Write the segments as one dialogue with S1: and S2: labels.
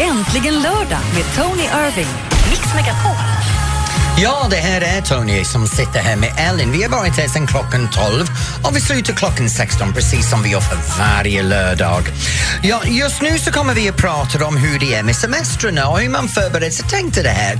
S1: Äntligen lördag med Tony Irving. Mix Megapol.
S2: Ja, det här är Tony som sitter här med Ellen. Vi har varit här sedan klockan 12 och vi slutar klockan 16 precis som vi gör för varje lördag. Ja, just nu så kommer vi att prata om hur det är med semestrarna och hur man förbereder sig. Tänk dig det här.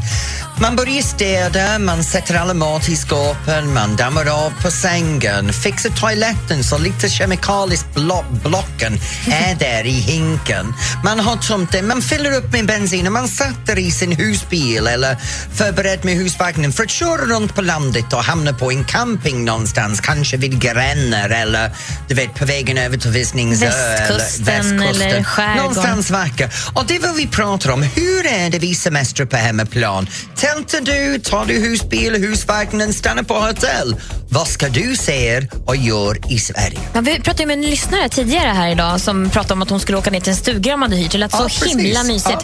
S2: Man börjar städa, man sätter alla mat i skåpen, man dammar av på sängen, fixar toaletten så lite kemikaliskt blo blocken är där i hinken. Man har tomten, man fyller upp med bensin och man sätter i sin husbil eller förberedd med husvagnen för att köra runt på landet och hamna på en camping någonstans, kanske vid Gränner eller du vet på vägen över till Visningsö
S3: Västkusten eller skärgården.
S2: Någonstans vacker. Och det är vad vi pratar om. Hur är det vi semestrar på hemmaplan? Tältar du, tar du husbil, husvagnen, stannar på hotell? Vad ska du se och göra i Sverige?
S3: Ja, vi pratade ju med en lyssnare tidigare här idag som pratade om att hon skulle åka ner till en stuga de hade hyrt. Det lät så
S2: Ja, precis.
S3: himla mysigt.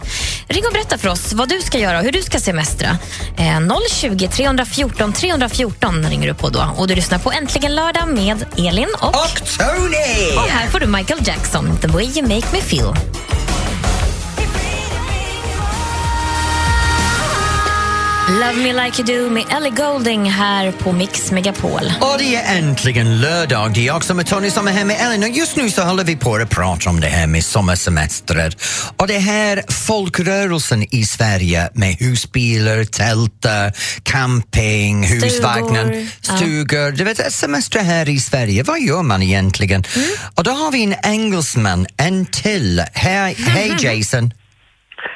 S3: Ring och berätta för oss vad du ska göra och hur du ska semestra. Eh, 020 314 314 ringer du på då. Och du lyssnar på Äntligen lördag med Elin och...
S2: Och Tony!
S3: Och här får du Michael Jackson, The way you make me feel. Love me like you do med Ellie Golding här på Mix Megapol.
S2: Och det är äntligen lördag. Det är jag som är Tony som är här med Ellen och just nu så håller vi på att prata om det här med sommarsemestrar. Och det här folkrörelsen i Sverige med husbilar, tältar, camping, husvagnen,
S3: Ja.
S2: stugor. Du vet, ett semester här i Sverige, vad gör man egentligen? Och då har vi en engelsman, en till. Hej hej Jason.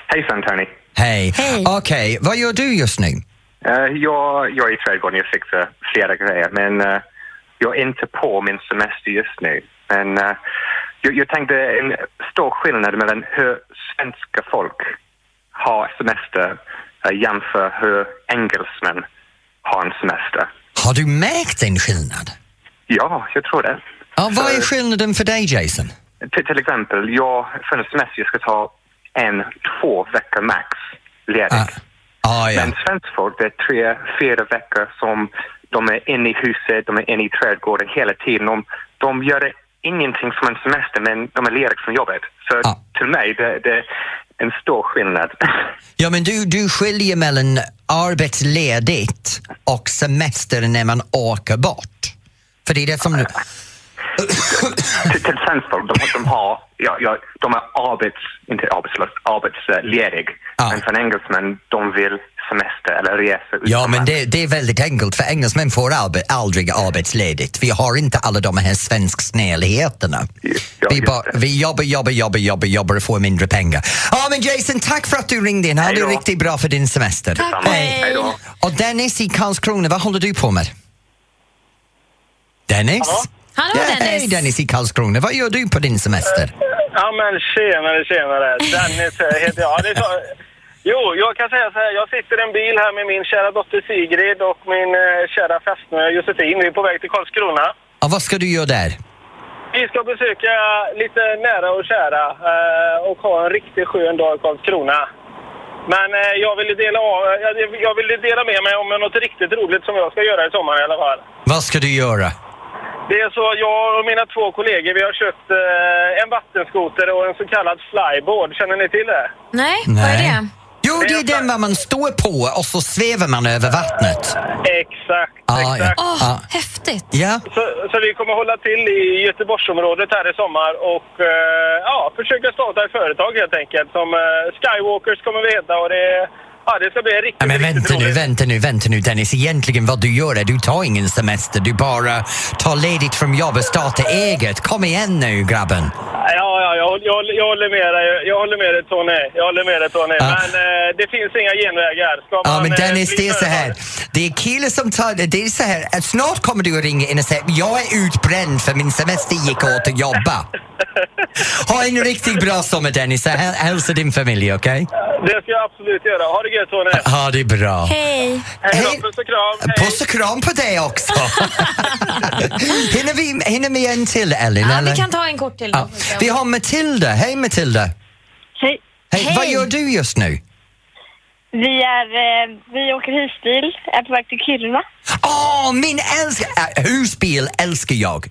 S4: Hejsan Tony.
S2: Hej.
S3: Hej.
S2: Okej, vad gör du just nu?
S4: Eh, jag, jag är i trädgården, jag fixar flera grejer men eh, jag är inte på min semester just nu. Men eh, jag, jag tänkte en stor skillnad mellan hur svenska folk har semester uh, jämfört hur engelsmän har en semester.
S2: Har du märkt en skillnad?
S4: Ja, jag tror det.
S2: Ja, vad är
S4: Eh,
S2: skillnaden för dig Jason?
S4: Till, till exempel, jag för en semester jag ska ta en, två veckor max ledigt.
S2: Ah. Ah, ja.
S4: Men svenskt folk, det är tre, fyra veckor som de är inne i huset, de är inne i trädgården hela tiden. De, de gör ingenting som en semester, men de är lediga från jobbet. Så
S2: Ja.
S4: till mig, det, det är en stor skillnad.
S2: Ja, men du, du skiljer mellan arbetsledigt och semester när man åker bort. För det är det som...
S4: till, till svenskt folk, de, de har, ja, ja, de är arbets, inte arbetslös, arbetsledig.
S2: Ja.
S4: Men för en engelsman, de vill semester eller resa
S2: Ja, men
S4: utomlands.
S2: det, det är väldigt enkelt för engelsmän får arbe, aldrig arbetsledigt. Vi har inte alla de här svensk snällheterna.
S4: Ja,
S2: Vi,
S4: just
S2: bara,
S4: det.
S2: vi jobbar, jobbar, jobbar, jobbar, jobbar och får mindre pengar. Ja, men Jason, tack för att du ringde in. Ha
S4: Hej
S2: det
S4: då.
S2: riktigt bra för din semester.
S3: Tack,
S4: Hej då.
S2: Och Dennis i Karlskrona, vad håller du på med? Dennis?
S5: Hallå?
S3: Hallå,
S2: Ja, Hej
S3: Dennis.
S2: Dennis i Karlskrona, vad gör du på din semester?
S5: Ja men tjenare, tjenare. Dennis eh, heter jag. Ja, det är så. Jo, jag kan säga så här. Jag sitter i en bil här med min kära dotter Sigrid och min eh, kära fästmö Josefin. Vi är på väg till Karlskrona.
S2: Och vad ska du göra där?
S5: Vi ska besöka lite nära och kära eh, och ha en riktigt skön dag i Karlskrona. Men eh, jag ville dela, av, jag- jag ville dela med mig om något riktigt roligt som jag ska göra i sommar i alla fall.
S2: Vad ska du göra?
S5: Det är så jag och mina två kollegor vi har köpt eh, en vattenskoter och en så kallad flyboard. Känner ni till det?
S3: Nej, vad är det?
S2: Jo, det är den där man står på och så svävar man över vattnet.
S5: Exakt,
S2: Ah, ja.
S5: exakt.
S3: Åh,
S2: Ja.
S3: häftigt.
S2: Ja,
S5: Så, så vi kommer hålla till i Göteborgsområdet här i sommar och eh, ja, försöka starta ett företag helt enkelt. Som eh, Skywalkers kommer vi heta och det, ja, det ska bli riktigt,
S2: Ja, men
S5: riktigt
S2: vänta nu,
S5: roligt.
S2: vänta nu, vänta nu Dennis. Egentligen vad du gör är du tar ingen semester, du bara tar ledigt från jobbet och startar eget. Kom igen nu grabben.
S5: Ja, ja, jag, håller- jag, håller- jag håller med dig. Jag håller med dig Tony. Jag håller med dig Tony.
S2: Ja.
S5: Men eh, det finns inga genvägar. Ska
S2: Ah. Ja
S5: man,
S2: men
S5: eh,
S2: Dennis,
S5: bli
S2: det är så här.
S5: företagare-
S2: Det är killar som tar, det är så här. att Snart kommer du att ringa in och säga jag är utbränd för min semester gick åt att jobba. Ha en riktigt bra sommar Dennis, och häl- hälsa din familj okej?
S5: Det ska jag absolut göra. Ha det gött Tony.
S2: Ha det bra.
S3: Hej.
S5: Hej
S2: Hej.
S5: då, puss och kram. Hej.
S2: Puss och kram på dig också! hinner, vi, hinner vi en till, Elin?
S3: Ja,
S2: eller?
S3: vi kan ta en kort till. då.
S2: Ja. Vi har Matilda. Hej, Matilda!
S6: Hej.
S2: Hej,
S3: Hej.
S2: Vad gör du just nu?
S6: Vi, är, eh, vi åker husbil, är på väg till Kiruna.
S2: Åh, min älsk... Äh, husbil älskar jag!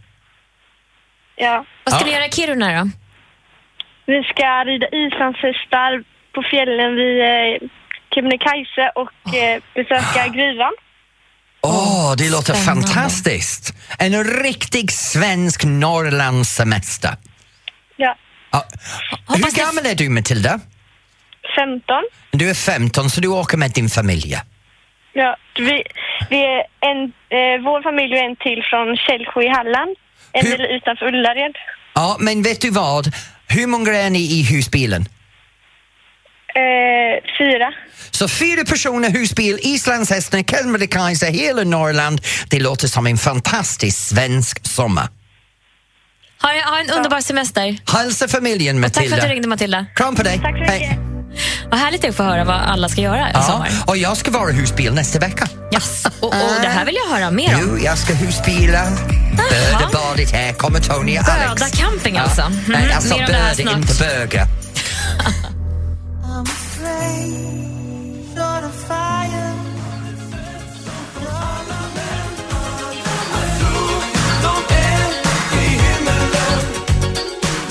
S6: Ja.
S3: Vad ska
S2: Ja. ah.
S3: ni göra i Kiruna då?
S6: Vi ska rida islandshästar, upp på fjällen vid eh, Kebnekaise och eh, besöka gruvan.
S2: Åh, det låter
S3: Spännande.
S2: fantastiskt! En riktig svensk Norrlandssemester.
S6: Ja.
S2: Ja. Hur
S3: Hoppas det-
S2: gammal är du, Matilda?
S6: 15.
S2: Du är 15, så du åker med din familj.
S6: Ja, vi, vi är en, eh, vår familj och en till från Källsjö i Halland. En
S2: Hur-
S6: del utanför Ullared.
S2: Ja, men vet du vad? Hur många är ni i husbilen?
S6: Eh, fyra.
S2: Så fyra personer, husbil, islandshästen, Kebnekaise, hela Norrland. Det låter som en fantastisk svensk sommar.
S3: Ha, ha en underbar semester.
S2: Hälsa familjen,
S3: Tack för
S2: Matilda.
S3: att du ringde, Matilda.
S2: Kram på dig.
S6: Tack så mycket.
S3: Vad härligt det är att få höra vad alla ska göra i
S2: Ja,
S3: sommar.
S2: och jag ska vara husbil nästa vecka.
S3: Yes. Och, och, det här vill jag höra mer om.
S2: Jo, jag ska husbila. Bödebadet här kommer Tony och Alex.
S3: Böda camping alltså. Mm,
S2: Nej, alltså
S3: mer om det här
S2: böde,
S3: snart.
S2: inte böga.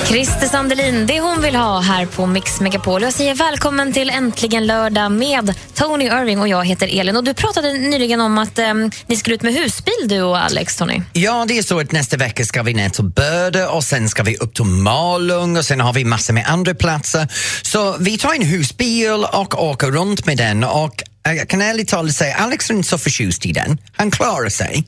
S3: Christer Sandelin, det hon vill ha här på Mix Megapol. Jag säger välkommen till Äntligen lördag med Tony Irving och jag heter Elin. Och du pratade nyligen om att ehm, ni skulle ut med husbil du och Alex, Tony.
S2: Ja, det är så att nästa vecka ska vi ner till Böde och sen ska vi upp till Malung och sen har vi massor med andra platser. Så vi tar en husbil och åker runt med den och eh, jag kan ärligt talat säga, Alex är inte så förtjust i den. Han klarar sig.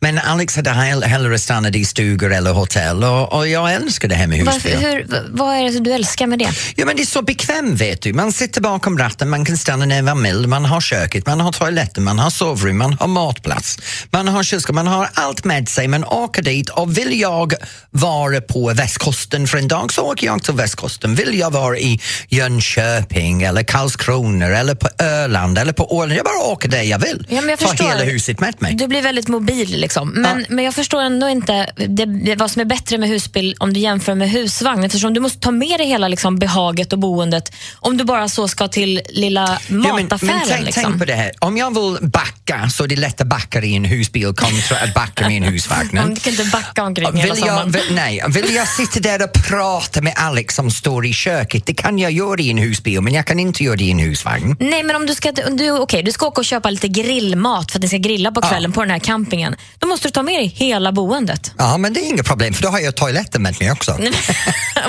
S2: Men Alex hade hell- hellre stannat i stugor eller hotell och, och jag älskar det här med
S3: Varför,
S2: husbil.
S3: hur, v- vad är det du älskar med det?
S2: Ja, men det är så bekvämt, vet du. Man sitter bakom ratten, man kan stanna ner man vill, man har köket, man har toaletten, man har sovrum, man har matplats, man har kylskåp, man har allt med sig. Man åker dit och vill jag vara på västkusten för en dag så åker jag till västkusten. Vill jag vara i Jönköping eller Karlskrona eller på Öland eller på Åland, jag bara åker där jag vill.
S3: Ja, men jag
S2: Ta
S3: förstår.
S2: hela huset med mig.
S3: Du blir väldigt mobil. Liksom. Men, men jag förstår ändå inte det, det, vad som är bättre med husbil om du jämför med husvagn. Eftersom du måste ta med dig hela liksom, behaget och boendet om du bara så ska till lilla mataffären.
S2: men tänk,
S3: liksom.
S2: tänk på det här, om jag vill backa så är det lätt att backa i en husbil kontra att backa med en husvagn.
S3: Om du kan inte backa omkring hela
S2: Vill jag,
S3: sommaren.
S2: vill, nej, vill jag sitta där och prata med Alex som står i köket, det kan jag göra i en husbil men jag kan inte göra det i en husvagn.
S3: Nej, men om du ska, du, okej, du ska åka och köpa lite grillmat för att ni ska grilla på kvällen på den här campingen. Då måste du ta med dig hela boendet.
S2: Ja, men det är inget problem för då har jag toaletten med mig också.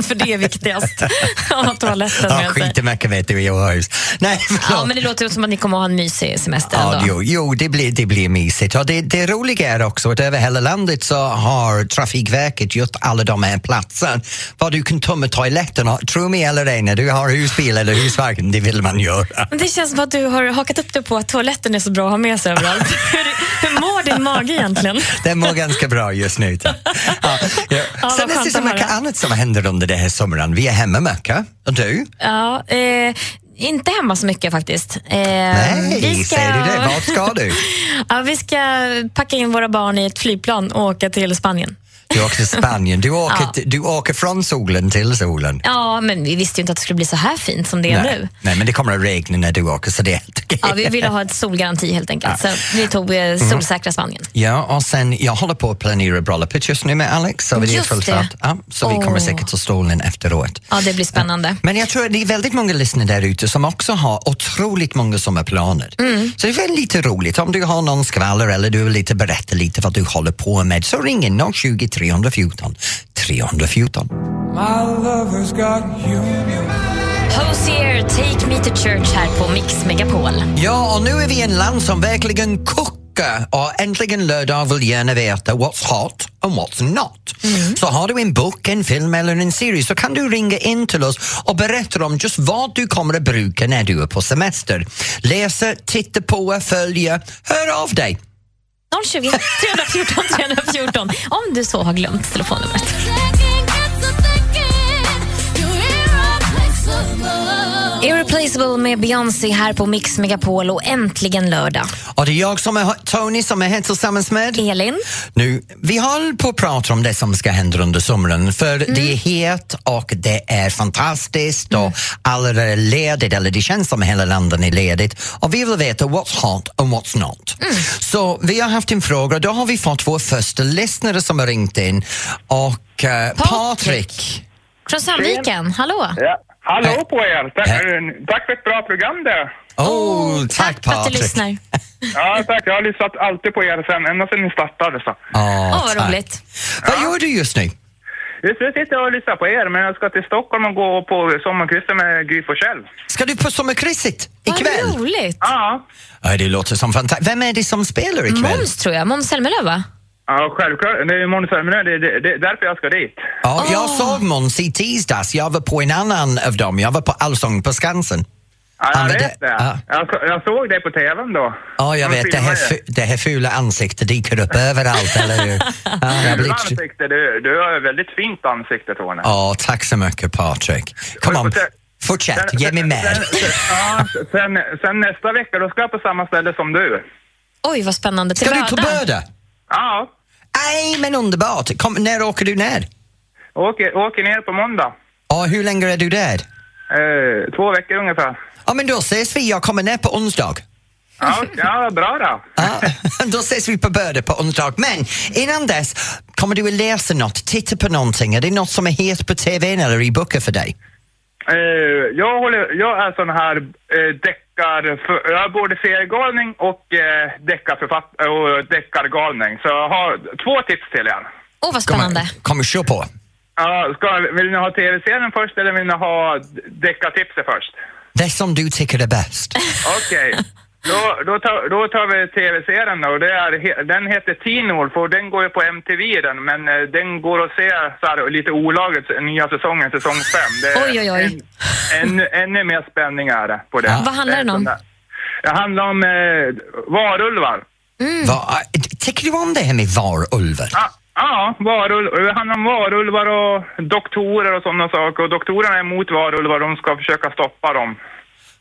S3: för det är viktigast. Ja, toaletten
S2: Ja,
S3: med sig.
S2: skit i mycket vet du i Åhus. Nej,
S3: Ja,
S2: förlåt.
S3: men det låter ju som att ni kommer att ha en mysig semester
S2: Ja,
S3: ändå.
S2: jo, jo det, blir, det blir mysigt. Och det, det roliga är också att över hela landet så har Trafikverket gjort alla de här platserna. Var du kan tömma toaletten, och- tro mig eller ej, när du har husbil eller husvagn, det vill man göra.
S3: Men Det känns som att du har hakat upp dig på att toaletten är så bra att ha med sig överallt. hur, hur mår din mage egentligen?
S2: Den mår ganska bra just nu. Ja, ja.
S3: vad
S2: Sen är
S3: skönt
S2: det så
S3: att
S2: mycket
S3: höra.
S2: annat som händer under den här sommaren. Vi är hemma mycket. Och du?
S3: Ja, eh, inte hemma så mycket faktiskt. Eh,
S2: Nej, säger du det? Vart ska du?
S3: ja, vi ska packa in våra barn i ett flygplan och åka till Spanien.
S2: Du åker till Spanien. Du åker,
S3: Ja.
S2: du åker från solen till solen.
S3: Ja, men vi visste ju inte att det skulle bli så här fint som det är
S2: Nej.
S3: nu.
S2: Nej, men det kommer att regna när du åker så det är helt okej.
S3: Ja, vi ville ha ett solgaranti helt enkelt, så vi tog eh,
S2: Mm.
S3: solsäkra Spanien.
S2: Ja, och sen jag håller på att planera bröllopet just nu med Alex. Så det är
S3: Just
S2: fullt
S3: det.
S2: fart. Ja, så vi kommer
S3: Åh.
S2: säkert till stolen efteråt.
S3: Ja, det blir spännande.
S2: Men jag tror att det är väldigt många lyssnare där ute som också har otroligt många sommarplaner. Så det är väl lite roligt om du har någon skvaller eller du vill lite berätta lite vad du håller på med så ring in 020 314 314.
S3: Hosier, Take Me to Church här på Mix Megapol.
S2: Ja, och nu är vi i en land som verkligen kockar och äntligen lördag vill gärna veta what's hot and what's not. Så har du en bok, en film eller en serie så kan du ringa in till oss och berätta om just vad du kommer att bruka när du är på semester. Läsa, titta på, följa, hör av dig.
S3: 020 314 314 om du så har glömt telefonnumret. Irreplaceable med Beyoncé här på Mix Megapol och äntligen lördag.
S2: Och det är jag som är Tony som är här tillsammans med
S3: Elin,
S2: Nu, vi håller på att prata om det som ska hända under sommaren för
S3: Mm.
S2: det är het och det är fantastiskt och alla är ledigt, eller det känns som hela landet är ledigt och vi vill veta what's hot and what's not.
S3: Mm.
S2: Så vi har haft en fråga och då har vi fått vår första lyssnare som har ringt in och eh, Patrik.
S3: Patrik. från Sandviken, hallå?
S5: Ja.
S2: Hej.
S7: Hallå på er! Tack, eh,
S2: Hej.
S7: tack för ett bra program där.
S2: Åh,
S3: Åh,
S2: Oh, tack,
S3: Oh, för att du
S2: Patrik.
S3: lyssnar.
S7: Ja, tack. Jag har lyssnat alltid på er sen, ända sedan ni startade. Så.
S2: Åh,
S3: Åh, vad
S2: tack.
S3: roligt.
S2: Vad gör du just nu?
S7: Just nu sitter jag och lyssnar på er, men jag ska till Stockholm och gå på sommarkryssen med Gry Forssell.
S2: Ska du på sommarkrysset
S3: Vad
S2: ikväll?
S3: roligt.
S7: Ja,
S2: Ja, det låter som fantastiskt. Vem är det som spelar ikväll?
S3: Måns, tror jag. Måns Zelmerlöw, va?
S7: ja självklart. Det är ju Måns Zelmerlöw. Det, det, det är därför jag ska dit.
S2: Ja, jag såg Måns i tisdags. Jag var på en annan av dem. Jag var på Allsång på Skansen.
S7: Ja,
S2: Ja,
S7: jag
S2: men
S7: vet
S2: det-
S7: det.
S2: ja.
S7: Jag, så- jag såg det på tvn då.
S2: Ja, jag
S7: De
S2: vet. Det
S7: filmar
S2: här,
S7: ju.
S2: fu- det här fula ansiktet dyker upp överallt, eller hur? Ja, jag
S7: Fula
S2: blir-
S7: ansikte, du, du har ett väldigt fint ansikte Tony.
S2: Ja, tack så mycket, Patrik. Kom on,
S7: Fortsätt.
S2: fortsätt. Ge mig
S7: Sen,
S2: mer.
S7: sen, ja, sen, sen nästa vecka, då ska jag på samma ställe som du.
S3: Oj, vad spännande. Till
S2: Ska du ta
S3: Böda.
S2: böda?
S7: Ja,
S2: Nej, men underbart. Kom, när åker du ner?
S7: åker, åker ner på måndag.
S2: Ja, hur länge är du där?
S7: Eh, två veckor ungefär.
S2: Ja, men då ses vi. Jag kommer ner på onsdag.
S7: Ja, ja bra då.
S2: Ja, då ses vi på Böde på onsdag. Men innan dess, kommer du att läsa något, titta på någonting? Är det något som är het på TVn eller i böcker för dig?
S7: Eh, jag, håller, jag är sån här eh, deckar... För, jag är både seriegalning och eh, deckarförfatt- och deckargalning. Så jag har två tips till er.
S3: Åh, vad
S2: Kommer,
S3: spännande.
S2: kommer köra på.
S7: Ja, ska, vill ni ha tv-serien först eller vill ni ha d- deckartipset först?
S2: Det som du tycker är bäst.
S7: Okej. Då, då, tar, då tar vi tv-serien då. Det är, he- den heter Teen Wolf och den går ju på MTV den, men eh, den går att se så här, lite olagligt, nya säsongen, säsong 5.
S3: Oj, oj, oj.
S7: En, en, ännu mer spänning är det på det.
S3: Vad handlar den om?
S7: Det är sån där- Det handlar om eh, varulvar.
S3: Mm.
S2: Va, tycker du om det här med varulvar?
S7: Ja, ja Ah, varul, det handlar om varulvar och doktorer och sådana saker. Och doktorerna är emot varulvar, de ska försöka stoppa dem.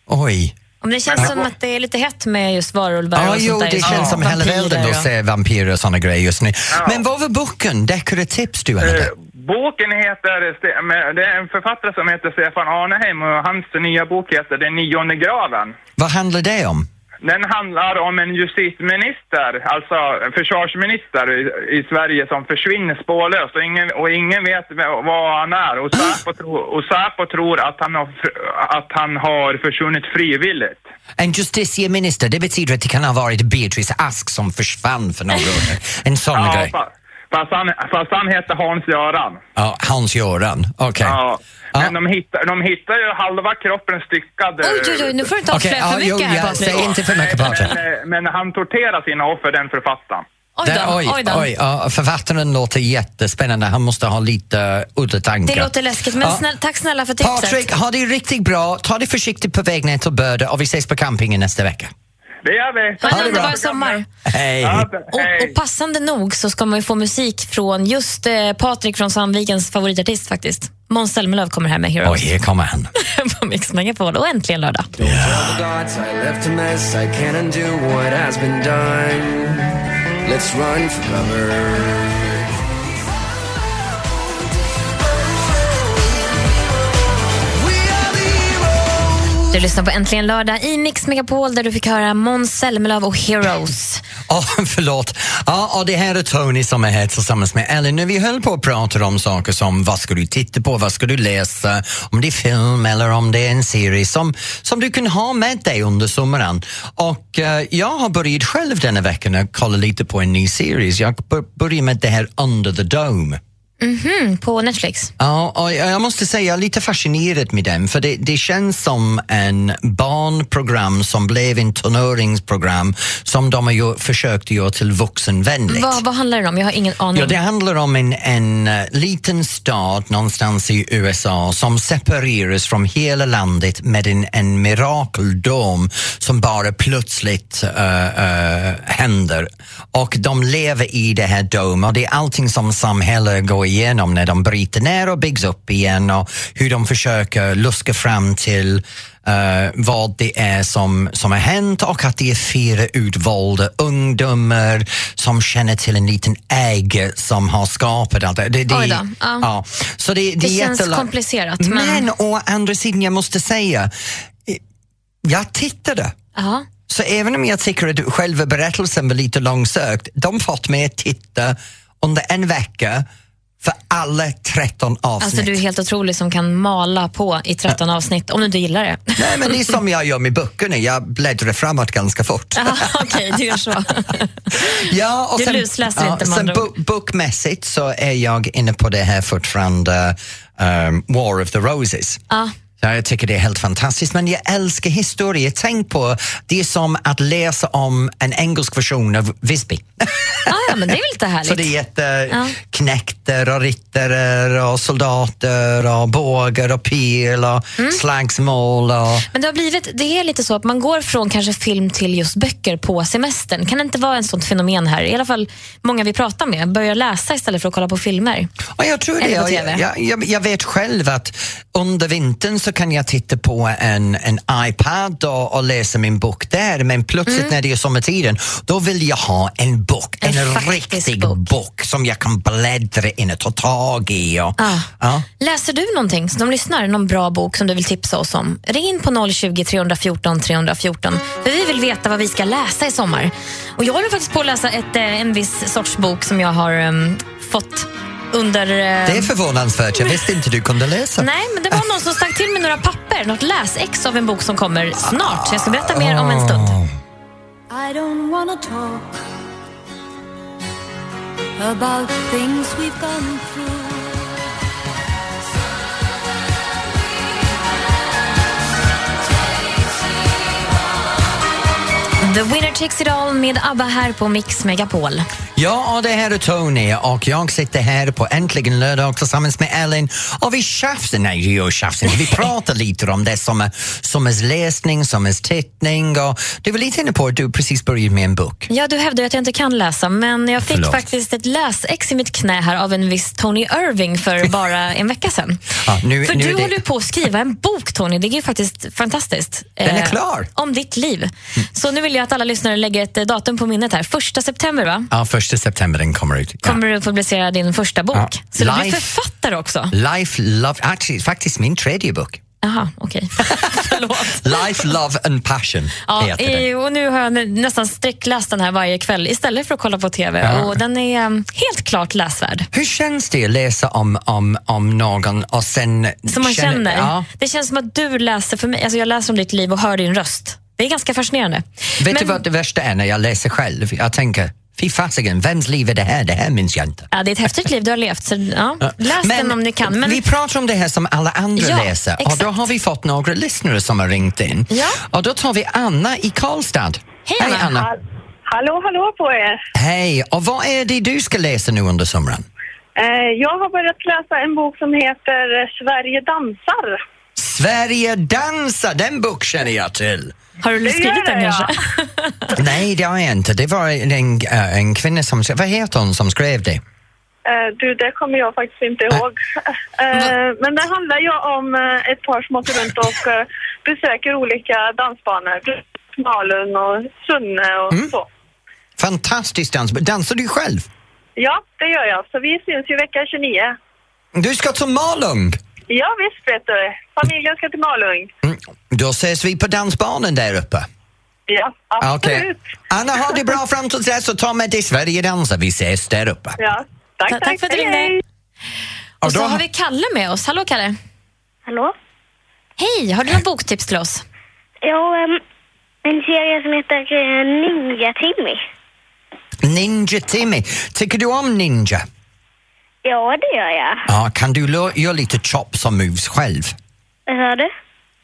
S2: Oj.
S3: Om det känns som att det är lite hett med just varulvar
S2: Ja,
S3: och
S2: jo,
S3: sånt där.
S2: det känns som hela
S3: Vampyrer
S2: världen
S3: och-
S2: att se vampyrer och såna grejer just nu. Men vad var boken? Deckare tips du hade?
S7: Eh, Boken heter, Ste- med- det är en författare som heter Stefan Arneheim och hans nya bok heter Den nionde graven.
S2: Vad handlar det om?
S7: Den handlar om en justitieminister, alltså en försvarsminister i, i Sverige som försvinner spårlöst och ingen, och ingen vet v- vad han är. Och Säpo, tro, och Säpo tror att han, har, f- att han har försvunnit frivilligt.
S2: En justitieminister, det betyder att det kan ha varit Beatrice Ask som försvann för några år sedan. En
S3: Oh
S2: sån
S7: Ja,
S2: grej.
S7: fa- fast, han, fast han heter Hans-Göran.
S2: Ja, Hans-Göran, okej.
S7: Ja. Men
S2: Ja.
S7: de hittar, de hittar ju halva kroppen styckad. eh,
S3: Oj, oj, oj, nu får du inte avslöja
S2: ja,
S3: för mycket
S2: jo,
S3: här,
S2: ja,
S3: Patrik.
S2: säg inte för mycket Patrik.
S7: Men, eh, men han torterar sina offer, den författaren.
S3: Oj
S2: Där-
S3: då,
S2: Oj,
S3: oj då.
S2: oj, ja, författaren låter jättespännande. Han måste ha lite udda
S3: Det
S2: tankar.
S3: låter läskigt, men
S2: Ja.
S3: snäll, tack snälla för tipset.
S2: Patrik, ha det riktigt bra. Ta det försiktigt på väg ner till Böde och vi ses på campingen nästa vecka.
S7: Det gör vi.
S3: ha en
S2: det bra.
S3: underbar sommar.
S2: Hej!
S7: Ja,
S3: Och,
S7: hej.
S3: och passande nog så ska man ju få musik från just eh, Patrik från Sandvikens favoritartist faktiskt. Måns Zelmerlöw kommer här med
S2: Oj,
S3: Heroes
S2: här kommer han.
S3: på Mix Megapol och äntligen lördag.
S8: Tell the gods I left a mess. I can't undo what has been done. Let's run for cover.
S3: Du lyssnar på Äntligen lördag i Mix Megapol där du fick höra Måns Zelmerlöw och Heroes.
S2: Ja, förlåt. Ja, och det här är Tony som är här tillsammans med Ellen. När vi höll på att prata om saker som vad ska du titta på, vad ska du läsa, om det är film eller om det är en serie som, som du kan ha med dig under sommaren. Och eh, jag har börjat själv denna veckan att kolla lite på en ny serie. Jag bör- börjar med det här Under the Dome.
S3: Mm, på Netflix.
S2: Ja, och jag jag måste säga jag är lite fascinerad med den för det, det känns som en barnprogram som blev en tonåringsprogram som de har gör, försökt göra till vuxenvänligt.
S3: Vad, vad handlar det om? Jag har ingen aning.
S2: Ja, det handlar om en, en eh, liten stad någonstans i USA som separeras från hela landet med en, en mirakeldom som bara plötsligt eh, eh, händer. Och de lever i det här domen och det är allting som samhället går igenom när de bryter ner och byggs upp igen och hur de försöker luska fram till eh, vad det är som, som har hänt och att det är fyra utvalda ungdomar som känner till en liten ägg som har skapat allt det. det, det
S3: Oj då, ja.
S2: Så det, det,
S3: Det
S2: är
S3: känns
S2: jättelång-
S3: komplicerat, men-
S2: Men... å andra sidan, jag måste säga, eh, jag tittade.
S3: Jaha.
S2: Så även om jag tycker att själva berättelsen var lite långsökt, de fått mig att titta under en vecka för alla 13 avsnitt.
S3: Alltså du är helt otrolig som kan mala på i 13 avsnitt om du inte gillar det.
S2: Nej, men det är som jag gör med böckerna, jag bläddrar framåt ganska fort.
S3: Jaha, Okej, du gör så. Ah,
S2: Ja, och
S3: Du lusläser inte, med
S2: Sen
S3: andra ord.
S2: bo- bokmässigt så är jag inne på det här fortfarande, um, War of the Roses.
S3: Ja.
S2: Ja, jag tycker det är helt fantastiskt, men jag älskar historia. Tänk på, det är som att läsa om en engelsk version av Visby.
S3: Ah, ja, men det är väl lite härligt?
S2: Så det är jätte
S3: Ja.
S2: knekter och ryttare och soldater och bågar och pil och
S3: Mm.
S2: slagsmål och...
S3: Men det har blivit, det är lite så att man går från kanske film till just böcker på semestern. Kan det inte vara en sånt fenomen här? I alla fall många vi pratar med börjar läsa istället för att kolla på filmer.
S2: Ja, jag tror det.
S3: Eller på
S2: Jag,
S3: TV.
S2: jag, jag, jag vet själv att under vintern så kan jag titta på en, en iPad och, och läsa min bok där men plötsligt när det är sommartiden då vill jag ha en bok, en,
S3: Mm. En faktisk
S2: riktig bok.
S3: bok.
S2: som jag kan bläddra in och ta tag i. Och,
S3: Ah.
S2: ja.
S3: Läser du någonting som de lyssnar, någon bra bok som du vill tipsa oss om? Ring in på 020 314 314 för vi vill veta vad vi ska läsa i sommar. Och jag håller faktiskt på att läsa ett, eh, en viss sorts bok som jag har em, fått under... eh,
S2: Det är förvånansvärt, jag visste inte du kunde läsa.
S3: Nej, men det var någon som stack till med några papper, något läsex av en bok som kommer snart. Jag ska berätta mer om en
S9: I
S3: stund.
S9: don't wanna talk about things we've gone through.
S2: Ah.
S3: The winner takes it all med ABBA här på Mix Megapol.
S2: Ja, och det här är Tony och jag sitter här på Äntligen lördag tillsammans med Ellen och vi tjafsar, nej vi gör tjafsar inte. vi pratar lite om det som är sommarsläsning, sommarstittning och du var lite inne på att du precis började med en bok.
S3: Ja, du hävdar ju att jag inte kan läsa, men jag fick
S2: Förlåt.
S3: faktiskt ett läsex i mitt knä här av en viss Tony Irving för bara en vecka sedan.
S2: Ja, nu-
S3: för
S2: nu är
S3: du
S2: det-
S3: håller ju på att skriva en bok, Tony. Det är ju faktiskt fantastiskt.
S2: Den är
S3: Eh,
S2: klar. Mm.
S3: Om ditt liv. Så nu vill jag att alla lyssnare lägger ett eh, datum på minnet här. Första september, va?
S2: Ja, första september den kommer ut. Ja.
S3: Kommer du publicera din första bok.
S2: Ja.
S3: Så du blir
S2: Life-
S3: författare också.
S2: Life, Love, actually, faktiskt min tredje bok.
S3: Jaha, okej. Förlåt.
S2: Life, Love and Passion
S3: Ja,
S2: heter den.
S3: eh, och nu har jag nä- nästan sträckläst den här varje kväll istället för att kolla på TV.
S2: Ja.
S3: Och den är eh, helt klart läsvärd.
S2: Hur känns det att läsa om, om, om någon och sen...
S3: Som man känner.
S2: Ja.
S3: Det känns som att du läser för mig. Alltså jag läser om ditt liv och hör din röst. Det är ganska fascinerande.
S2: Vet
S3: Men-
S2: du vad det värsta är när jag läser själv? Jag tänker, fy fasiken, vems liv är det här? Det här minns jag inte.
S3: Ja, det är ett häftigt liv du har levt. Så, ja. Läs den om ni kan. Men
S2: Vi pratar om det här som alla andra
S3: Ja,
S2: läser och
S3: exakt.
S2: då har vi fått några lyssnare som har ringt in.
S3: Ja.
S2: Och då tar vi Anna i Karlstad.
S3: Hej, Anna.
S2: Ah.
S6: Hall- Hallå, hallå på er!
S2: Hej, och vad är det du ska läsa nu under sommaren?
S6: Eh, jag har börjat läsa en bok som heter eh, Sverige dansar.
S2: Sverige dansar, den bok känner jag till.
S3: har du skrivit
S6: gör
S3: den
S6: jag.
S3: kanske?
S2: Nej, det har jag inte. Det var en, eh, en kvinna som, vad heter hon som skrev det?
S6: Eh, du, det kommer jag faktiskt inte ihåg. Eh, men det handlar ju om eh, ett par som åker runt och eh, besöker olika dansbanor. Malun och Sunne och så.
S2: Fantastisk dans. Dansar du själv?
S6: Ja, det gör jag. Så vi syns ju vecka 29.
S2: Du ska till Malung.
S6: Ja, visst vet du. Familjen ska till Malung.
S2: Mm. Då ses vi på dansbanan där uppe.
S6: Ja, absolut.
S2: Ah, Okej. Anna, ha det bra fram till dess och ta med dig Sverigedansa. Vi ses där uppe.
S6: Ja. Tack,
S3: Ta-
S6: tack.
S3: tack för att du
S6: Hej,
S3: ringde.
S6: hej.
S3: Och så
S2: då-
S3: har vi Kalle med oss. Hallå Kalle.
S10: Hallå?
S3: Hej, har du något boktips till oss?
S10: Jo, ehm, en serie som heter eh, Ninja-Timmy.
S2: Ninja Timmy. Tycker du om ninja?
S10: Ja, det gör jag.
S2: Ja, kan du lo- göra lite chops och moves själv?
S10: Vad sa du?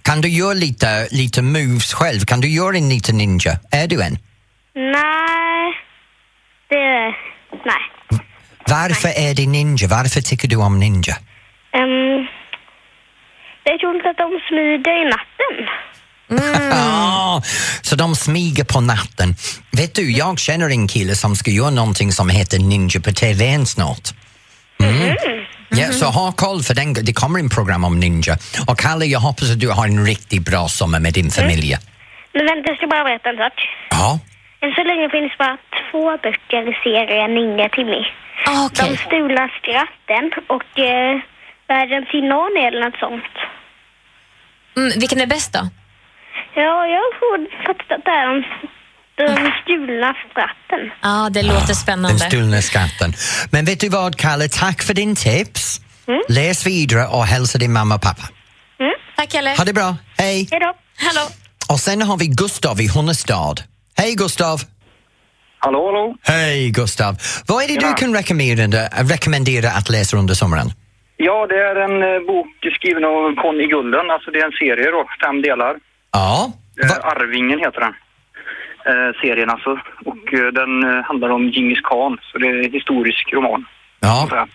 S2: Kan du göra lite, lite moves själv? Kan du göra en liten ninja? Är du en?
S10: Nej, det... Nej.
S2: Varför är du ninja? Varför tycker du om ninja?
S10: Um, jag tror inte att de smyger i natten.
S3: Mm.
S2: Ah, så de smyger på natten. Vet du, jag känner en kille som ska göra någonting som heter Ninja på TVn snart.
S3: Mm-hmm.
S2: Mm. Ja, så ha koll för den, det kommer en program om ninja. Och Kalle, jag hoppas att du har en riktigt bra sommar med
S3: Mm.
S2: din familj.
S10: Men vänta, jag ska bara berätta en sak.
S2: Ja.
S10: Än så länge finns bara två böcker i serien Ninja-Timmy.
S3: Ah, Okej.
S10: De stulna skratten och eh, Världens inan eller något sånt.
S3: Mm, vilken är bäst då?
S10: Ja, jag tror faktiskt att det är de, Den stulna skatten.
S3: Ja,
S2: Ah,
S3: det låter
S2: Den
S3: spännande.
S2: stulna skatten. Men vet du vad, Kalle? Tack för din tips.
S3: Mm.
S2: Läs vidare och hälsa din mamma och pappa.
S3: Tack, Kalle.
S2: Ha det bra. Hej!
S10: Hej då.
S3: Hallå.
S2: Och sen har vi Gustav i Hunnestad. Hej, Gustav!
S11: Hallå, hallå.
S2: Hej, Gustav! Vad är det du
S11: Tjena.
S2: kan rekommendera, rekommendera att läsa under sommaren?
S11: Ja, det är en eh, bok skriven av Conny Gulden. Alltså det är en serie då, fem delar.
S2: Ja.
S11: Eh,
S2: Va-
S11: Arvingen heter den. Eh, serien alltså. Och eh, den eh, handlar om Djingis khan, så det är en historisk roman.
S2: ja.
S11: Så här.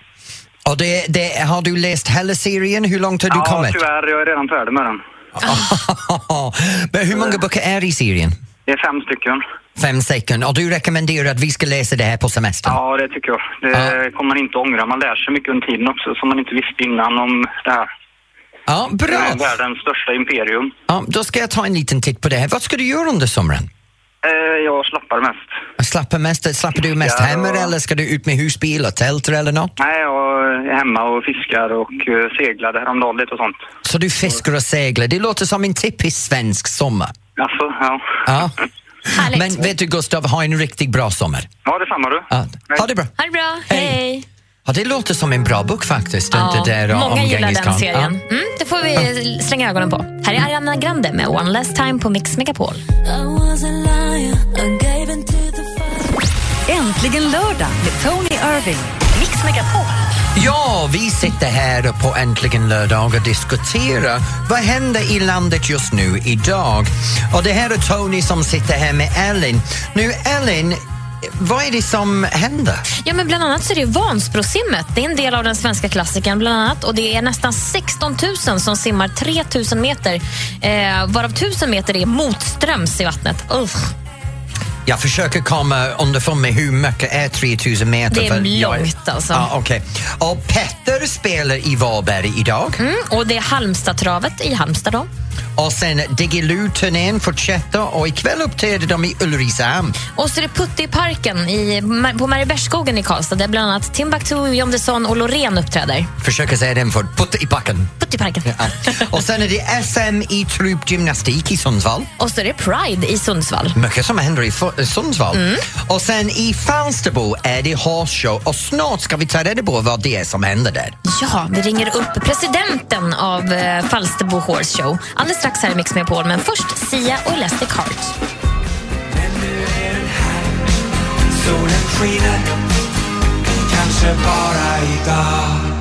S2: Och det, det, har du läst hela serien? Hur långt har du
S11: ja,
S2: kommit?
S11: tyvärr. Jag är redan färdig med den.
S2: Men hur
S11: Eh.
S2: många böcker är i serien?
S11: Det är fem stycken.
S2: Fem stycken. Och du rekommenderar att vi ska läsa det här på semestern?
S11: Ja, det tycker jag. Det
S2: Ja.
S11: kommer man inte ångra. Man lär sig mycket under tiden också som man inte visste innan om det här.
S2: Ja,
S11: Det
S2: bra!
S11: är världens största imperium.
S2: Ja, då ska jag ta en liten titt på det här. Vad ska du göra under sommaren?
S11: Eh, jag slappar mest.
S2: Slappa mest, slappar du mest
S11: Ja.
S2: hemma eller ska du ut med husbil och tälter eller något?
S11: Nej, jag är hemma och fiskar och eh, seglade häromdagen lite och sånt.
S2: Så du fiskar och seglar. Det låter som en typisk svensk sommar.
S11: Alltså, ja.
S2: Ja.
S3: Härligt.
S2: Men vet du Gustav, ha en riktigt bra sommar.
S11: Ja, detsamma du.
S2: Ja.
S11: Nej.
S2: Ha det bra.
S3: Ha det bra.
S2: Hej.
S3: Hej.
S2: Ja, det låter som en bra bok faktiskt.
S3: Ja,
S2: inte där om
S3: många gillar
S2: Genghis
S3: den
S2: Khan.
S3: serien.
S2: Ja.
S3: Mm, det får vi slänga ögonen på. Här är Ariana Grande med One Last Time på Mix Megapol.
S12: I was a liar. I gave in to the fire.
S1: Äntligen lördag med Tony Irving. Mix Megapol.
S2: Ja, vi sitter här på Äntligen lördag och diskuterar vad händer i landet just nu idag. Och det här är Tony som sitter här med Ellen. Nu Ellen, vad är det som händer?
S3: Ja, men bland annat så är det Vansbrosimmet. Det är en del av den svenska klassikern bland annat. Och det är nästan 16 000 som simmar 3 000 meter. Eh, varav 1000 meter är motströms i vattnet. Uff.
S2: Jag försöker komma underfund med hur mycket är 3000 meter.
S3: Det är
S2: för jag-
S3: långt, alltså.
S2: Ja, okej. Och Petter spelar i Varberg idag.
S3: Mm, och det är Halmstadtravet i Halmstad då.
S2: Och sen Diggiloo-turnén fortsätter och ikväll uppträder de i Ulricehamn.
S3: Och så är det Putte i parken i, på Mariebergsskogen i Karlstad där bland annat Timbuktu, John Desson och Loreen uppträder.
S2: Försöker säga den för putta i backen.
S3: Putte i parken.
S2: Ja. Och sen är det SM i trupgymnastik i Sundsvall.
S3: Och så är det Pride i Sundsvall.
S2: Mycket som händer i Fu- Sundsvall. Och sen i Falsterbo är det horsshow och snart ska vi ta reda på vad det är som händer där.
S3: Ja, vi ringer upp presidenten av eh, Falsterbo Horse Show alldeles strax här i Mix Megapol. Men först Sia och Elastic Heart.
S9: Solen skiner, kanske bara idag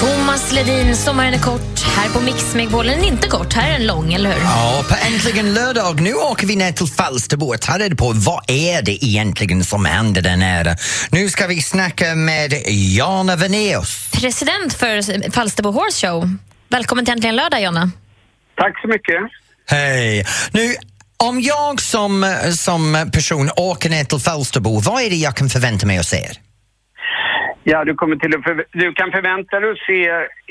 S3: Thomas Ledin, sommaren är kort. Här på Mix Megapol är den inte kort, här är den lång, eller hur?
S2: Ja, på Äntligen lördag. Nu åker vi ner till Falsterbo och tar reda på vad är det egentligen som händer där nere. Nu ska vi snacka med Jana Venaeus.
S3: President för Falsterbo Horse Show. Välkommen till Äntligen lördag, Jonna.
S11: Tack så mycket.
S2: Hej! Nu, om jag som, som person åker ner till Falsterbo, vad är det jag kan förvänta mig att se?
S11: Ja, du, kommer till att förv- du kan förvänta dig att se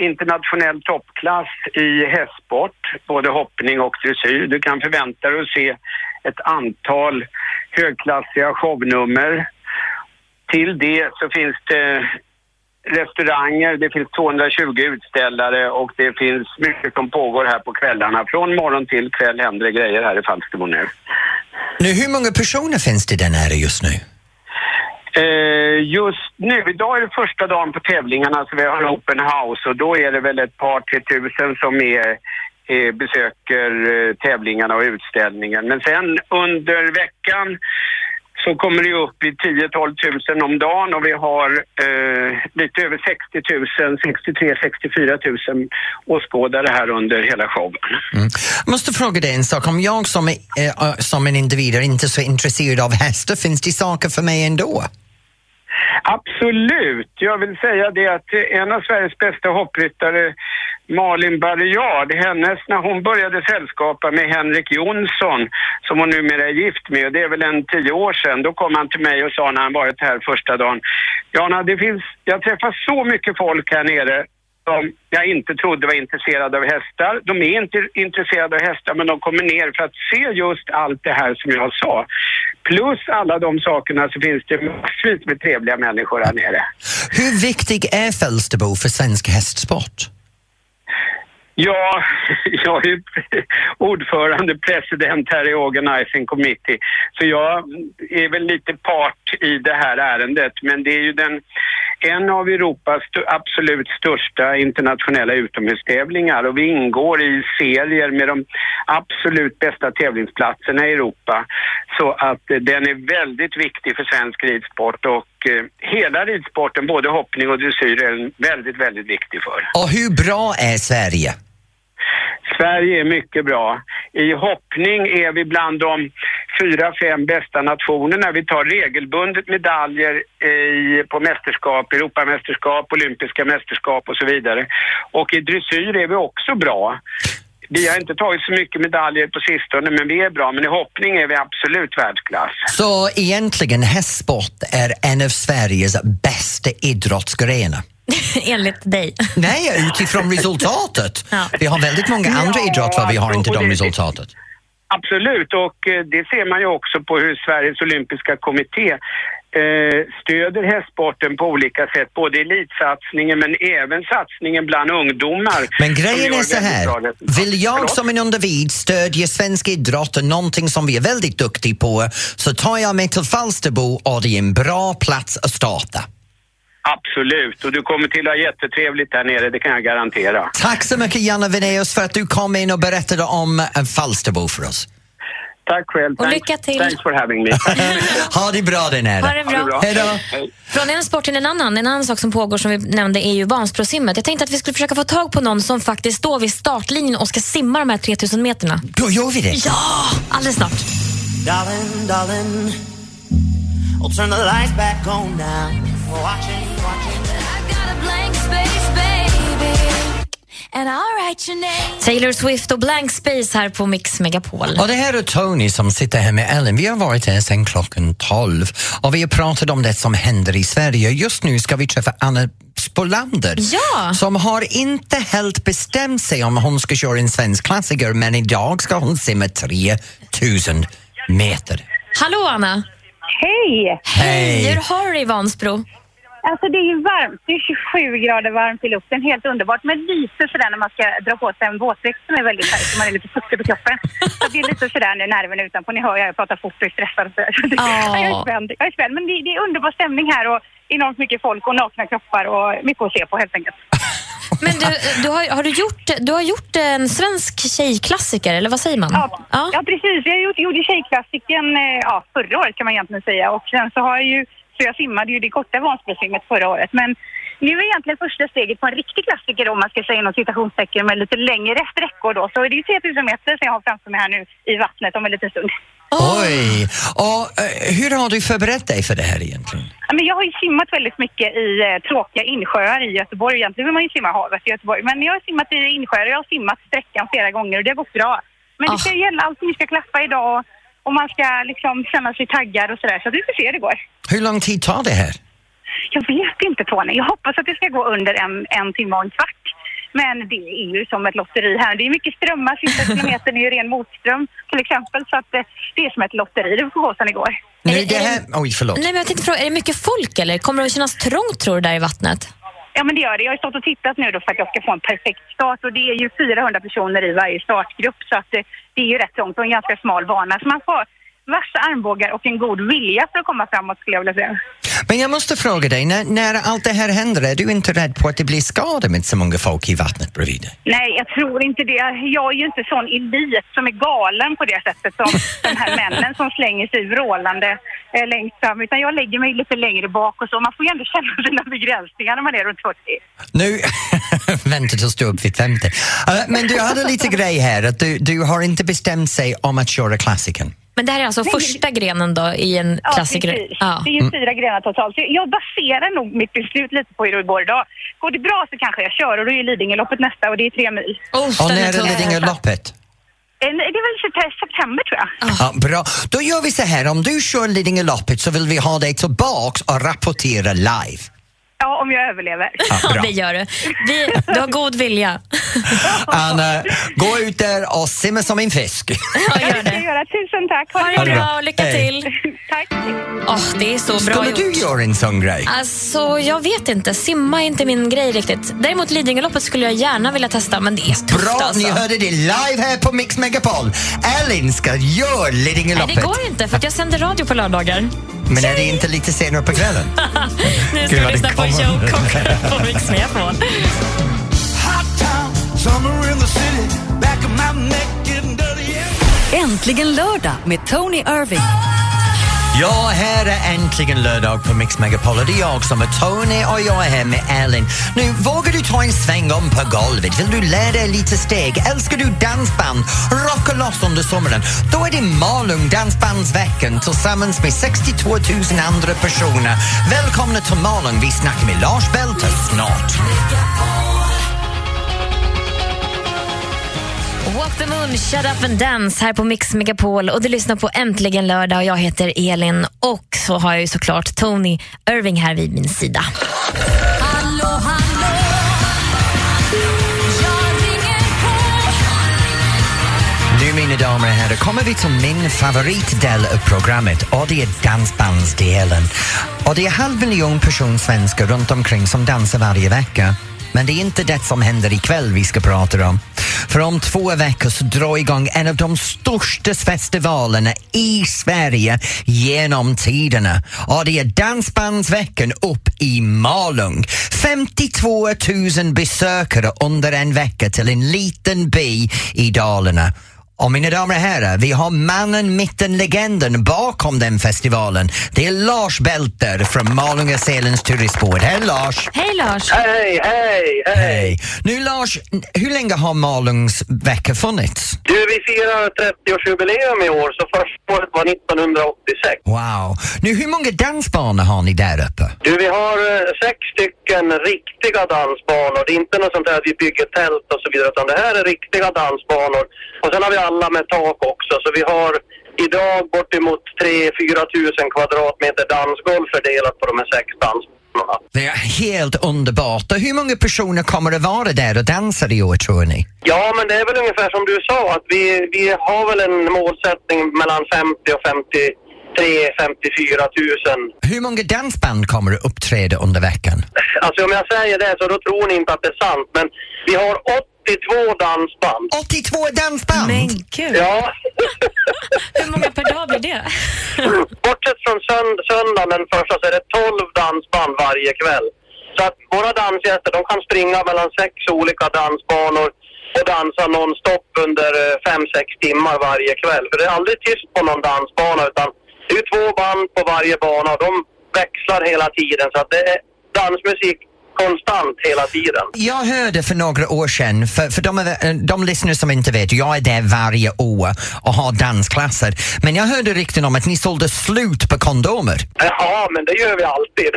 S11: internationell toppklass i hästsport, både hoppning och dressyr. Du kan förvänta dig att se ett antal högklassiga shownummer. Till det så finns det restauranger, det finns 220 utställare och det finns mycket som pågår här på kvällarna. Från morgon till kväll händer det grejer här i Falsterbo nu.
S2: Nu, hur många personer finns det där nere just nu?
S11: Eh, just nu, idag är det första dagen på tävlingarna så vi har open house och då är det väl ett par, tre tusen som är, eh, besöker eh, tävlingarna och utställningen. Men sen under veckan så kommer det ju upp i 10-12 tusen om dagen och vi har eh, lite över 60 000, 63-64 000 åskådare här under hela showen.
S2: Mm. Jag måste fråga dig en sak. Om jag som, är, eh, som en individ är inte så intresserad av hästar, finns det saker för mig ändå?
S11: Absolut. Jag vill säga det att en av Sveriges bästa hoppryttare, Malin Barriard, hennes, när hon började sällskapa med Henrik Jonsson, som hon numera är gift med, det är väl en tio år sedan, då kom han till mig och sa när han varit här första dagen, Jana, det finns, jag träffar så mycket folk här nere som jag inte trodde var intresserade av hästar. De är inte intresserade av hästar men de kommer ner för att se just allt det här som jag sa. Plus alla de sakerna så finns det massvis med trevliga människor här nere.
S2: Hur viktig är Falsterbo för svensk hästsport?
S11: Ja, jag är ju ordförande, president här i Organizing Committee, så jag är väl lite part i det här ärendet. Men det är ju den, en av Europas st- absolut största internationella utomhustävlingar och vi ingår i serier med de absolut bästa tävlingsplatserna i Europa. Så att eh, den är väldigt viktig för svensk ridsport och eh, hela ridsporten, både hoppning och dressyr, är den väldigt, väldigt viktig för.
S2: Och hur bra är Sverige?
S11: Sverige är mycket bra. I hoppning är vi bland de fyra, fem bästa nationerna. Vi tar regelbundet medaljer i, på mästerskap, Europamästerskap, olympiska mästerskap och så vidare. Och i dressyr är vi också bra. Vi har inte tagit så mycket medaljer på sistone, men vi är bra. Men i hoppning är vi absolut världsklass.
S2: Så egentligen hästsport är en av Sveriges bästa idrottsgrenar.
S3: Enligt dig.
S2: Nej, utifrån resultatet. Vi har väldigt många andra idrotter, vi har inte de resultatet.
S11: Absolut, och eh, det ser man ju också på hur Sveriges olympiska kommitté eh, stöder hästsporten på olika sätt, både elitsatsningen men även satsningen bland ungdomar.
S2: Men
S11: som
S2: grejen
S11: gör
S2: är så
S11: väldigt bra
S2: här,
S11: resultat.
S2: vill jag
S11: Förlåt?
S2: som en individ stödja svensk idrott och någonting som vi är väldigt duktiga på så tar jag mig till Falsterbo och det är en bra plats att starta.
S11: Absolut, och du kommer till att ha jättetrevligt där nere, det kan jag garantera.
S2: Tack så mycket Janne Venaeus för att du kom in och berättade om eh, Falsterbo för oss.
S11: Tack själv.
S3: Och lycka till.
S11: Thanks for having me.
S2: ha det bra där nere.
S3: Ha det bra.
S2: Hej då.
S11: Hej.
S3: Från en sport till en annan. En annan sak som pågår som vi nämnde är ju barnsprosimmet. Jag tänkte att vi skulle försöka få tag på någon som faktiskt står vid startlinjen och ska simma de här 3000 meterna.
S2: Då gör vi det.
S3: Ja, alldeles snart.
S9: Darling, darling, I'll turn the lights back on now. We're Watching, watching. I got a blank space, baby. And I'll write your name.
S3: Taylor Swift och Blank Space här på Mix Megapol.
S2: Och det här är Tony som sitter här med Ellen. Vi har varit här sedan klockan 12 och vi har pratat om det som händer i Sverige. Just nu ska vi träffa Anna Spolander
S3: Ja.
S2: som har inte helt bestämt sig om hon ska köra en svensk klassiker men idag ska hon simma 3000 meter.
S3: Hallå Anna!
S13: Hej!
S2: Hej.
S3: Hur har du det i Vansbro?
S13: Alltså det är ju varmt, det är 27 grader varmt i luften, helt underbart. Men lite sådär när man ska dra på sig en våtdräkt som är väldigt stark, så man är lite fuktig på kroppen. Så det är lite sådär nu, nerverna utanpå. Ni hör jag, jag pratar fort och är stressad och sådär. Så det,
S3: Ja.
S13: Jag är spänd, jag är spänd. Men det, det är underbar stämning här och enormt mycket folk och nakna kroppar och mycket att se på helt enkelt.
S3: Men du, du, har, har du, gjort, du har gjort en svensk tjejklassiker, eller vad säger man?
S13: Ja, ja. precis. Jag gjorde, gjorde Tjejklassiken eh, ja, förra året kan man egentligen säga. Och sen så har jag ju, så jag simmade ju det korta Vansbrosimmet förra året. Men nu är egentligen första steget på en riktig klassiker om man ska säga inom citationstecken med lite längre sträckor då. Så det är ju 3000 meter som jag har framför mig här nu i vattnet om en liten stund.
S2: Oj! Och, eh, hur har du förberett dig för det här egentligen?
S13: Ja, men jag har ju simmat väldigt mycket i eh, tråkiga insjöar i Göteborg. Egentligen vill man ju simma havet i Göteborg. Men jag har simmat i insjöar och jag har simmat sträckan flera gånger och det har gått bra. Men det ska ju gälla allting ska klaffa idag och man ska liksom känna sig taggad och sådär. Så vi får se hur det går.
S2: Hur lång tid tar det här?
S13: Jag vet inte Tony. Jag hoppas att det ska gå under en, en timme och en kvart. Men det är ju som ett lotteri här. Det är mycket strömmar. Sista kilometern är ju ren motström till exempel. Så att eh, det är som ett lotteri. Det får gå som det går.
S2: Nu, det här... Oj, förlåt.
S3: Nej, men jag tänkte fråga, är det mycket folk eller? Kommer det att kännas trångt tror du där i vattnet?
S13: Ja, men det gör det. Jag har ju stått och tittat nu då för att jag ska få en perfekt start och det är ju 400 personer i varje startgrupp så att eh, det är ju rätt långt och en ganska smal bana. Så man får vassa armbågar och en god vilja för att komma framåt skulle jag vilja säga.
S2: Men jag måste fråga dig, när, när allt det här händer, är du inte rädd på att det blir skador med så många folk i vattnet bredvid dig?
S13: Nej, jag tror inte det. Jag är ju inte sån elit som är galen på det sättet som de här männen som slänger sig vrålande eh, längst fram. Utan jag lägger mig lite längre bak och så. Man får ju ändå känna sina begränsningar när man är runt 40.
S2: Nu väntar tills du är upp vid 50. Eh, men du hade lite grej här, att du, du har inte bestämt sig om att köra klassiken.
S3: Men det här är alltså första grenen då i en
S13: Ja,
S3: klassiker?
S13: precis. Det är
S2: Mm.
S13: ju fyra grenar totalt. Så jag baserar nog mitt beslut lite på hur det går idag. Går det bra så kanske jag kör och då är ju Lidingöloppet nästa och det är tre mil.
S3: Oh,
S2: Och
S3: den
S2: när
S3: är
S2: är
S3: tung.
S2: Lidingöloppet?
S13: Eh, nej, Det är väl sept- september tror jag.
S2: Ja, bra. Då gör vi så här, om du kör Lidingöloppet så vill vi ha dig tillbaks och rapportera live.
S13: Ja, om jag överlever.
S2: Ja, bra.
S3: det gör du. Vi, du har god vilja.
S2: Anna, gå ut där och simma som en fisk.
S13: Ja, gör det. ska jag göra. Tusen tack.
S2: Ha det bra. Hej.
S13: Tack.
S3: Åh, det är så bra
S2: Skulle
S3: gjort.
S2: du göra en sån grej?
S3: Alltså, jag vet inte. Simma är inte min grej riktigt. Däremot Lidingöloppet skulle jag gärna vilja testa, men det är tufft
S2: Bra,
S3: alltså.
S2: ni hörde det live här på Mix Megapol. Elin ska göra
S3: Nej,
S2: Lidingöloppet.
S3: det går inte, för att jag sänder radio på lördagar.
S2: Men är det inte lite senare på kvällen?
S3: nu ska
S2: Gud,
S3: vi
S2: vad det
S3: lyssna på
S2: kommer.
S3: Joe Cocker på Mix Megapol.
S1: Äntligen lördag med Tony Irving.
S2: Ja, här är äntligen lördag på Mix Megapol och det är jag som är Tony och jag är här med Elin. Nu, vågar du ta en sväng om på golvet? Vill du lära dig lite steg? Älskar du dansband? Rocka loss under sommaren? Då är det Malung Dansbandsveckan tillsammans med 62 000 andra personer. Välkomna till Malung, vi snackar med Lars Belter snart.
S3: Walk the moon, shut up and dance här på Mix Megapol och du lyssnar på Äntligen lördag och jag heter Elin och så har jag ju såklart Tony Irving här vid min sida.
S2: Nu mina damer och herrar kommer vi till min favoritdel av programmet och det är dansbandsdelen. Och det är halv miljon personer svenskar runt omkring som dansar varje vecka. Men det är inte det som händer ikväll vi ska prata om. För om två veckor så drar igång en av de största festivalerna i Sverige genom tiderna. Och det är Dansbandsveckan upp i Malung. 52 000 besökare under en vecka till en liten by i Dalarna. Och mina damer och herrar, vi har mannen, mitten, legenden bakom den festivalen. Det är Lars Belter från Malunga Selens turistbord. Hej Lars!
S3: Hej Lars!
S14: Hej, hej,
S2: Hej! Nu Lars, n- hur länge har Malungs vecka funnits?
S14: Du, vi firar 30-årsjubileum i år, så första året var 1986.
S2: Wow! Nu, hur många dansbanor har ni där uppe?
S14: Du, vi har eh, sex stycken riktiga dansbanor. Det är inte något sånt här att vi bygger tält och så vidare, utan det här är riktiga dansbanor. Och sen har vi alla med tak också, så vi har idag bortemot 3-4 tusen kvadratmeter dansgolv fördelat på de här sex dansbanorna.
S2: Det är helt underbart. Och hur många personer kommer att vara där och dansa i år tror ni?
S14: Ja, men det är väl ungefär som du sa, att vi, vi har väl en målsättning mellan 50 och 53 54 tusen
S2: Hur många dansband kommer att uppträda under veckan?
S14: Alltså om jag säger det så då tror ni inte att det är sant, men vi har 82 dansband.
S2: 82 dansband?
S14: Men
S3: gud!
S14: Ja,
S3: Hur många per dag blir det?
S14: bortsett från sönd- söndagen den första så är det 12 dansband varje kväll. Så att våra dansgäster de kan springa mellan sex olika dansbanor och dansa nonstop under 5-6 timmar varje kväll. För det är aldrig tyst på någon dansbana utan det är ju två band på varje bana och de växlar hela tiden så att det är dansmusik konstant hela tiden.
S2: Jag hörde för några år sedan, för, för de, är- eh, de lyssnare som inte vet, jag är där varje år och har dansklasser. Men jag hörde rykten om att ni sålde slut på kondomer.
S14: Ja, men det gör vi alltid.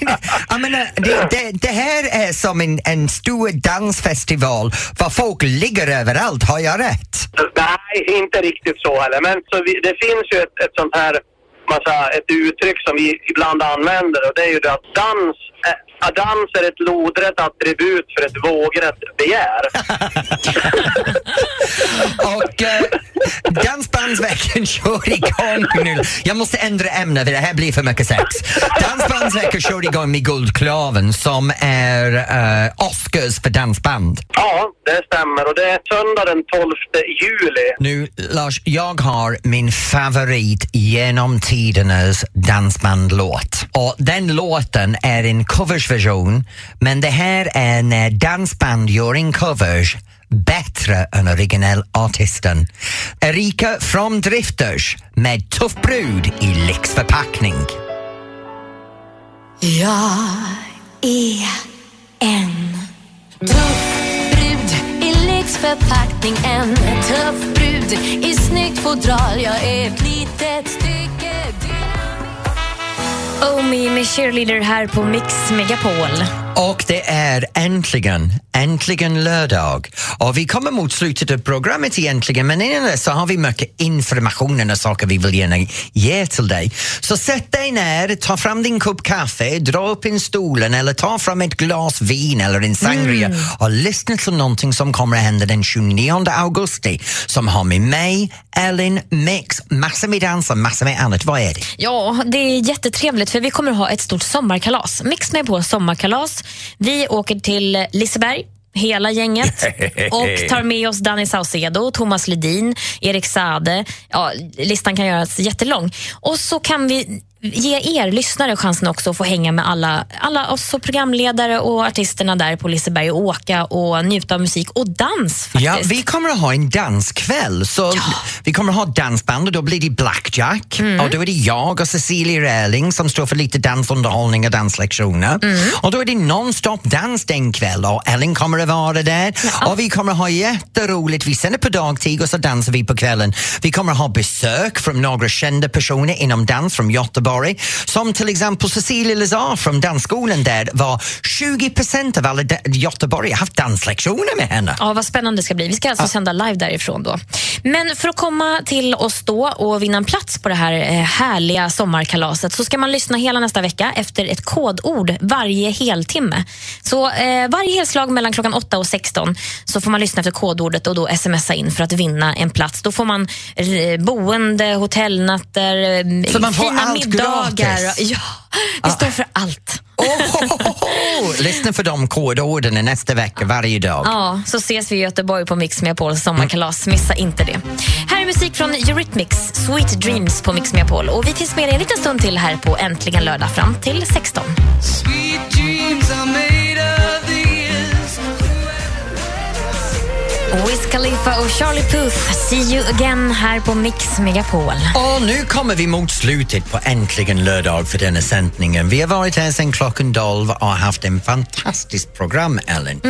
S2: Jag menar, eh, det, det, det här är som en, en stor dansfestival var folk ligger överallt, har jag rätt?
S14: Nej, inte riktigt så heller. Men så vi, det finns ju ett, ett sånt här massa, ett uttryck som vi ibland använder och det är ju det att dans, eh, att dans är ett lodrätt attribut för ett vågrätt begär.
S2: Och eh, Dansbandsveckan kör igång nu. Jag måste ändra ämne för det här blir för mycket sex. Dansbandsveckan kör igång med Guldklaven som är eh, Oscars för dansband.
S14: Ja, det stämmer och det är söndag den 12 juli.
S2: Nu, Lars, jag har min favorit genom tidernas dansbandlåt. Och den låten är en coversversion, men det här är när dansband gör en covers bättre än originalartisten. Erika från Drifters med Tuff brud i lyxförpackning.
S9: Jag är en tuff brud i lyxförpackning En tuff brud i snyggt fodral Jag är ett litet stycke
S3: Oh me med cheerleader här på Mix Megapol.
S2: Och det är äntligen, äntligen lördag. Och vi kommer mot slutet av programmet egentligen men innan dess så har vi mycket information och saker vi vill gärna ge till dig. Så sätt dig ner, ta fram din kopp kaffe, dra upp en stolen eller ta fram ett glas vin eller en sangria och lyssna till någonting som kommer att hända den 29 augusti som har med mig, Ellen, Mix, massor med dans och massor med annat. Vad är det?
S3: Ja, det är jättetrevligt för vi kommer ha ett stort sommarkalas. Mix med på sommarkalas. Vi åker till Liseberg hela gänget och tar med oss Danny Saucedo, Thomas Ledin, Erik Sade. Ja, listan kan göras jättelång. Och så kan vi ge er lyssnare chansen också att få hänga med alla, alla oss och programledare och artisterna där på Liseberg och åka och njuta av musik och dans
S2: Ja, vi kommer att ha en danskväll. Så Vi kommer att ha dansband och då blir det blackjack. Och då är det jag och Cecilia Rehling som står för lite dansunderhållning och danslektioner. Och då är det nonstop dans den kväll och Ellen kommer att vara där. Och vi kommer att ha jätteroligt. Vi sänder på dagtid och så dansar vi på kvällen. Vi kommer att ha besök från några kända personer inom dans från Göteborg. Som till exempel Cecilia Lazar från dansskolan där var 20 procent av alla da- Göteborg har haft danslektioner med henne.
S3: Ja, vad spännande det ska bli. Vi ska alltså sända live därifrån då. Men för att komma till oss då och vinna en plats på det här eh, härliga sommarkalaset så ska man lyssna hela nästa vecka efter ett kodord varje heltimme. Så eh, varje helslag mellan klockan 8 och 16 så får man lyssna efter kodordet och då smsa in för att vinna en plats. Då får man eh, boende, hotellnätter, eh,
S2: Så man får
S3: fina
S2: allt
S3: middagar.
S2: gratis?
S3: Ja, vi står för allt.
S2: Oh, lyssna för de kodorden i nästa vecka varje dag.
S3: Ja, så ses vi i Göteborg på Mix Megapols sommarkalas. Missa inte det. Här är musik från Eurythmics, Sweet Dreams på Mix Megapol. Och vi finns med er en liten stund till här på Äntligen lördag fram till 16.
S9: Sweet dreams are made of these.
S3: Wiz Khalifa och Charlie Puth, See you again här på Mix Megapol.
S2: Och nu kommer vi mot slutet på Äntligen lördag för denna sändningen. Vi har varit här sedan klockan 12 och haft en fantastisk program, Ellen.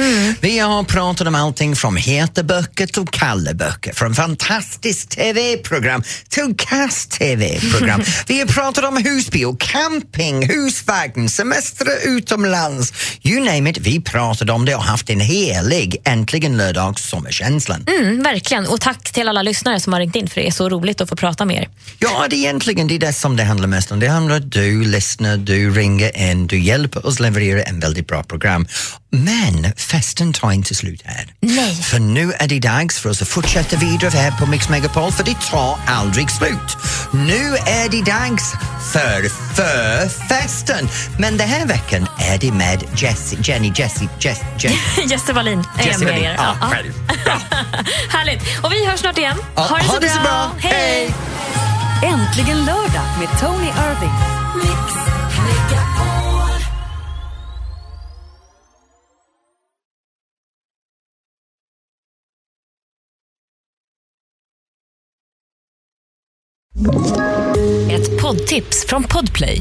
S2: Vi har pratat om allting från heta böcker till kalla böcker, från fantastiskt TV-program till kast-TV-program. vi har pratat om husbil, camping, husvagn, semester utomlands. You name it, vi pratade om det och haft en helig Äntligen lördag sommarkänslan.
S3: Mm, verkligen. Och tack till alla lyssnare som har ringt in för det är så roligt att få prata med er.
S2: Ja, det är egentligen det, är det som det handlar mest om. Det handlar om att du lyssnar, du ringer in, du hjälper oss leverera en väldigt bra program. Men festen tar inte slut här.
S3: Nej.
S2: För nu är det dags för oss att fortsätta vidare här på Mix Megapol för det tar aldrig slut. Nu är det dags för förfesten. Men den här veckan är det med Jessie, Jenny, Jessie, Jess, Jess,
S3: Jesse Wallin är
S2: Jessie
S3: med
S2: Wallin.
S3: er.
S2: Ja,
S3: Ja,
S2: själv.
S3: Härligt. Och vi hörs snart igen.
S2: Ja, ha det så bra.
S3: Hej!
S1: Äntligen lördag med Tony Irving.
S15: Ett poddtips från Podplay.